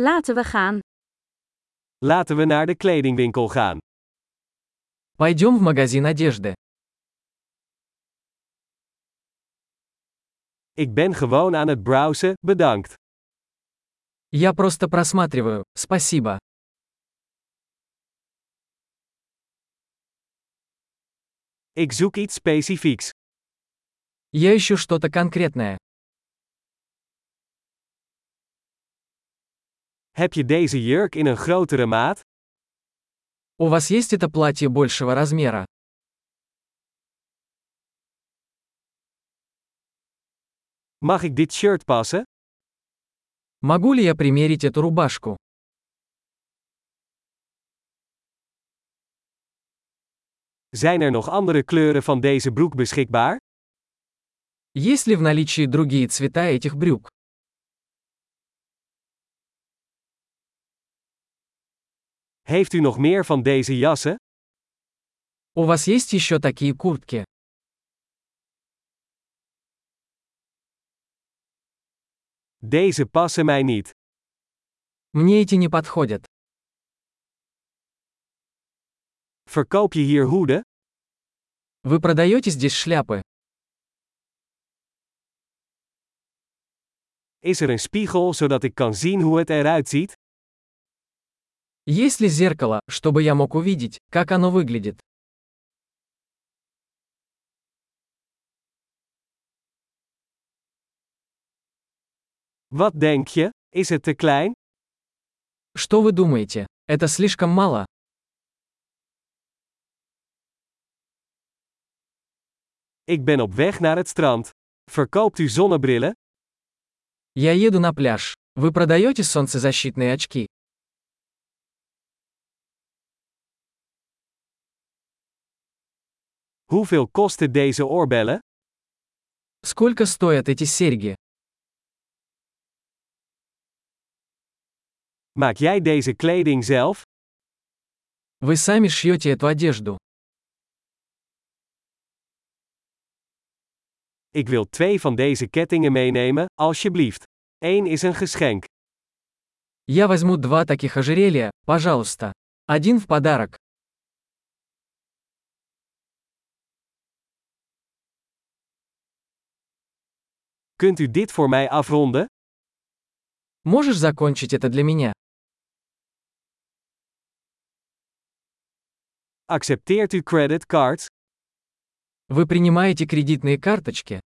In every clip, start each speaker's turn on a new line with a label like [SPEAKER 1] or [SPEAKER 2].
[SPEAKER 1] Laten we gaan.
[SPEAKER 2] Laten we naar de kledingwinkel gaan.
[SPEAKER 3] Пойдем в магазин одежды.
[SPEAKER 2] Ik ben gewoon aan het browsen, bedankt.
[SPEAKER 3] Я просто просматриваю, спасибо.
[SPEAKER 2] Ik zoek iets specifieks.
[SPEAKER 3] Я ищу что-то конкретное.
[SPEAKER 2] Heb je deze jurk in een grotere maat?
[SPEAKER 3] У вас есть это платье большего размера?
[SPEAKER 2] Mag ik dit shirt passen?
[SPEAKER 3] Могу ли я примерить эту рубашку?
[SPEAKER 2] Zijn er nog andere kleuren van deze broek beschikbaar?
[SPEAKER 3] Есть ли в наличии другие цвета этих брюк?
[SPEAKER 2] Heeft u nog meer van deze jassen?
[SPEAKER 3] У вас есть еще такие куртки?
[SPEAKER 2] Deze passen mij niet.
[SPEAKER 3] Мне эти не подходят.
[SPEAKER 2] Verkoop je hier hoeden?
[SPEAKER 3] Вы продаете здесь шляпы?
[SPEAKER 2] Is er een spiegel zodat ik kan zien hoe het eruit ziet?
[SPEAKER 3] Есть ли зеркало, чтобы я мог увидеть, как оно выглядит?
[SPEAKER 2] Wat denk je? Is het te klein?
[SPEAKER 3] Что вы думаете? Это слишком мало?
[SPEAKER 2] Ik ben op weg naar het strand. Verkoopt u zonnebrillen?
[SPEAKER 3] Я еду на пляж. Вы продаете солнцезащитные очки?
[SPEAKER 2] Hoeveel kosten deze oorbellen?
[SPEAKER 3] Сколько стоят эти серьги?
[SPEAKER 2] Maak jij deze kleding zelf?
[SPEAKER 3] Вы сами шьете эту одежду.
[SPEAKER 2] Ik wil twee van deze kettingen meenemen, alsjeblieft. Eén is een geschenk.
[SPEAKER 3] Я возьму два таких ожерелья, пожалуйста. Один в подарок.
[SPEAKER 2] Kunt u dit voor mij afronden?
[SPEAKER 3] Можешь закончить это для меня?
[SPEAKER 2] Accepteert u creditcards?
[SPEAKER 3] Вы принимаете кредитные карточки?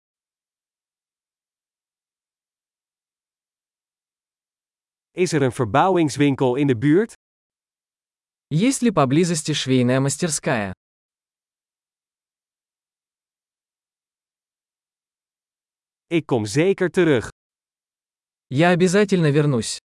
[SPEAKER 2] Is er een verbouwingswinkel in de buurt?
[SPEAKER 3] Есть ли поблизости швейная мастерская?
[SPEAKER 2] Ik kom zeker terug.
[SPEAKER 3] Я обязательно вернусь.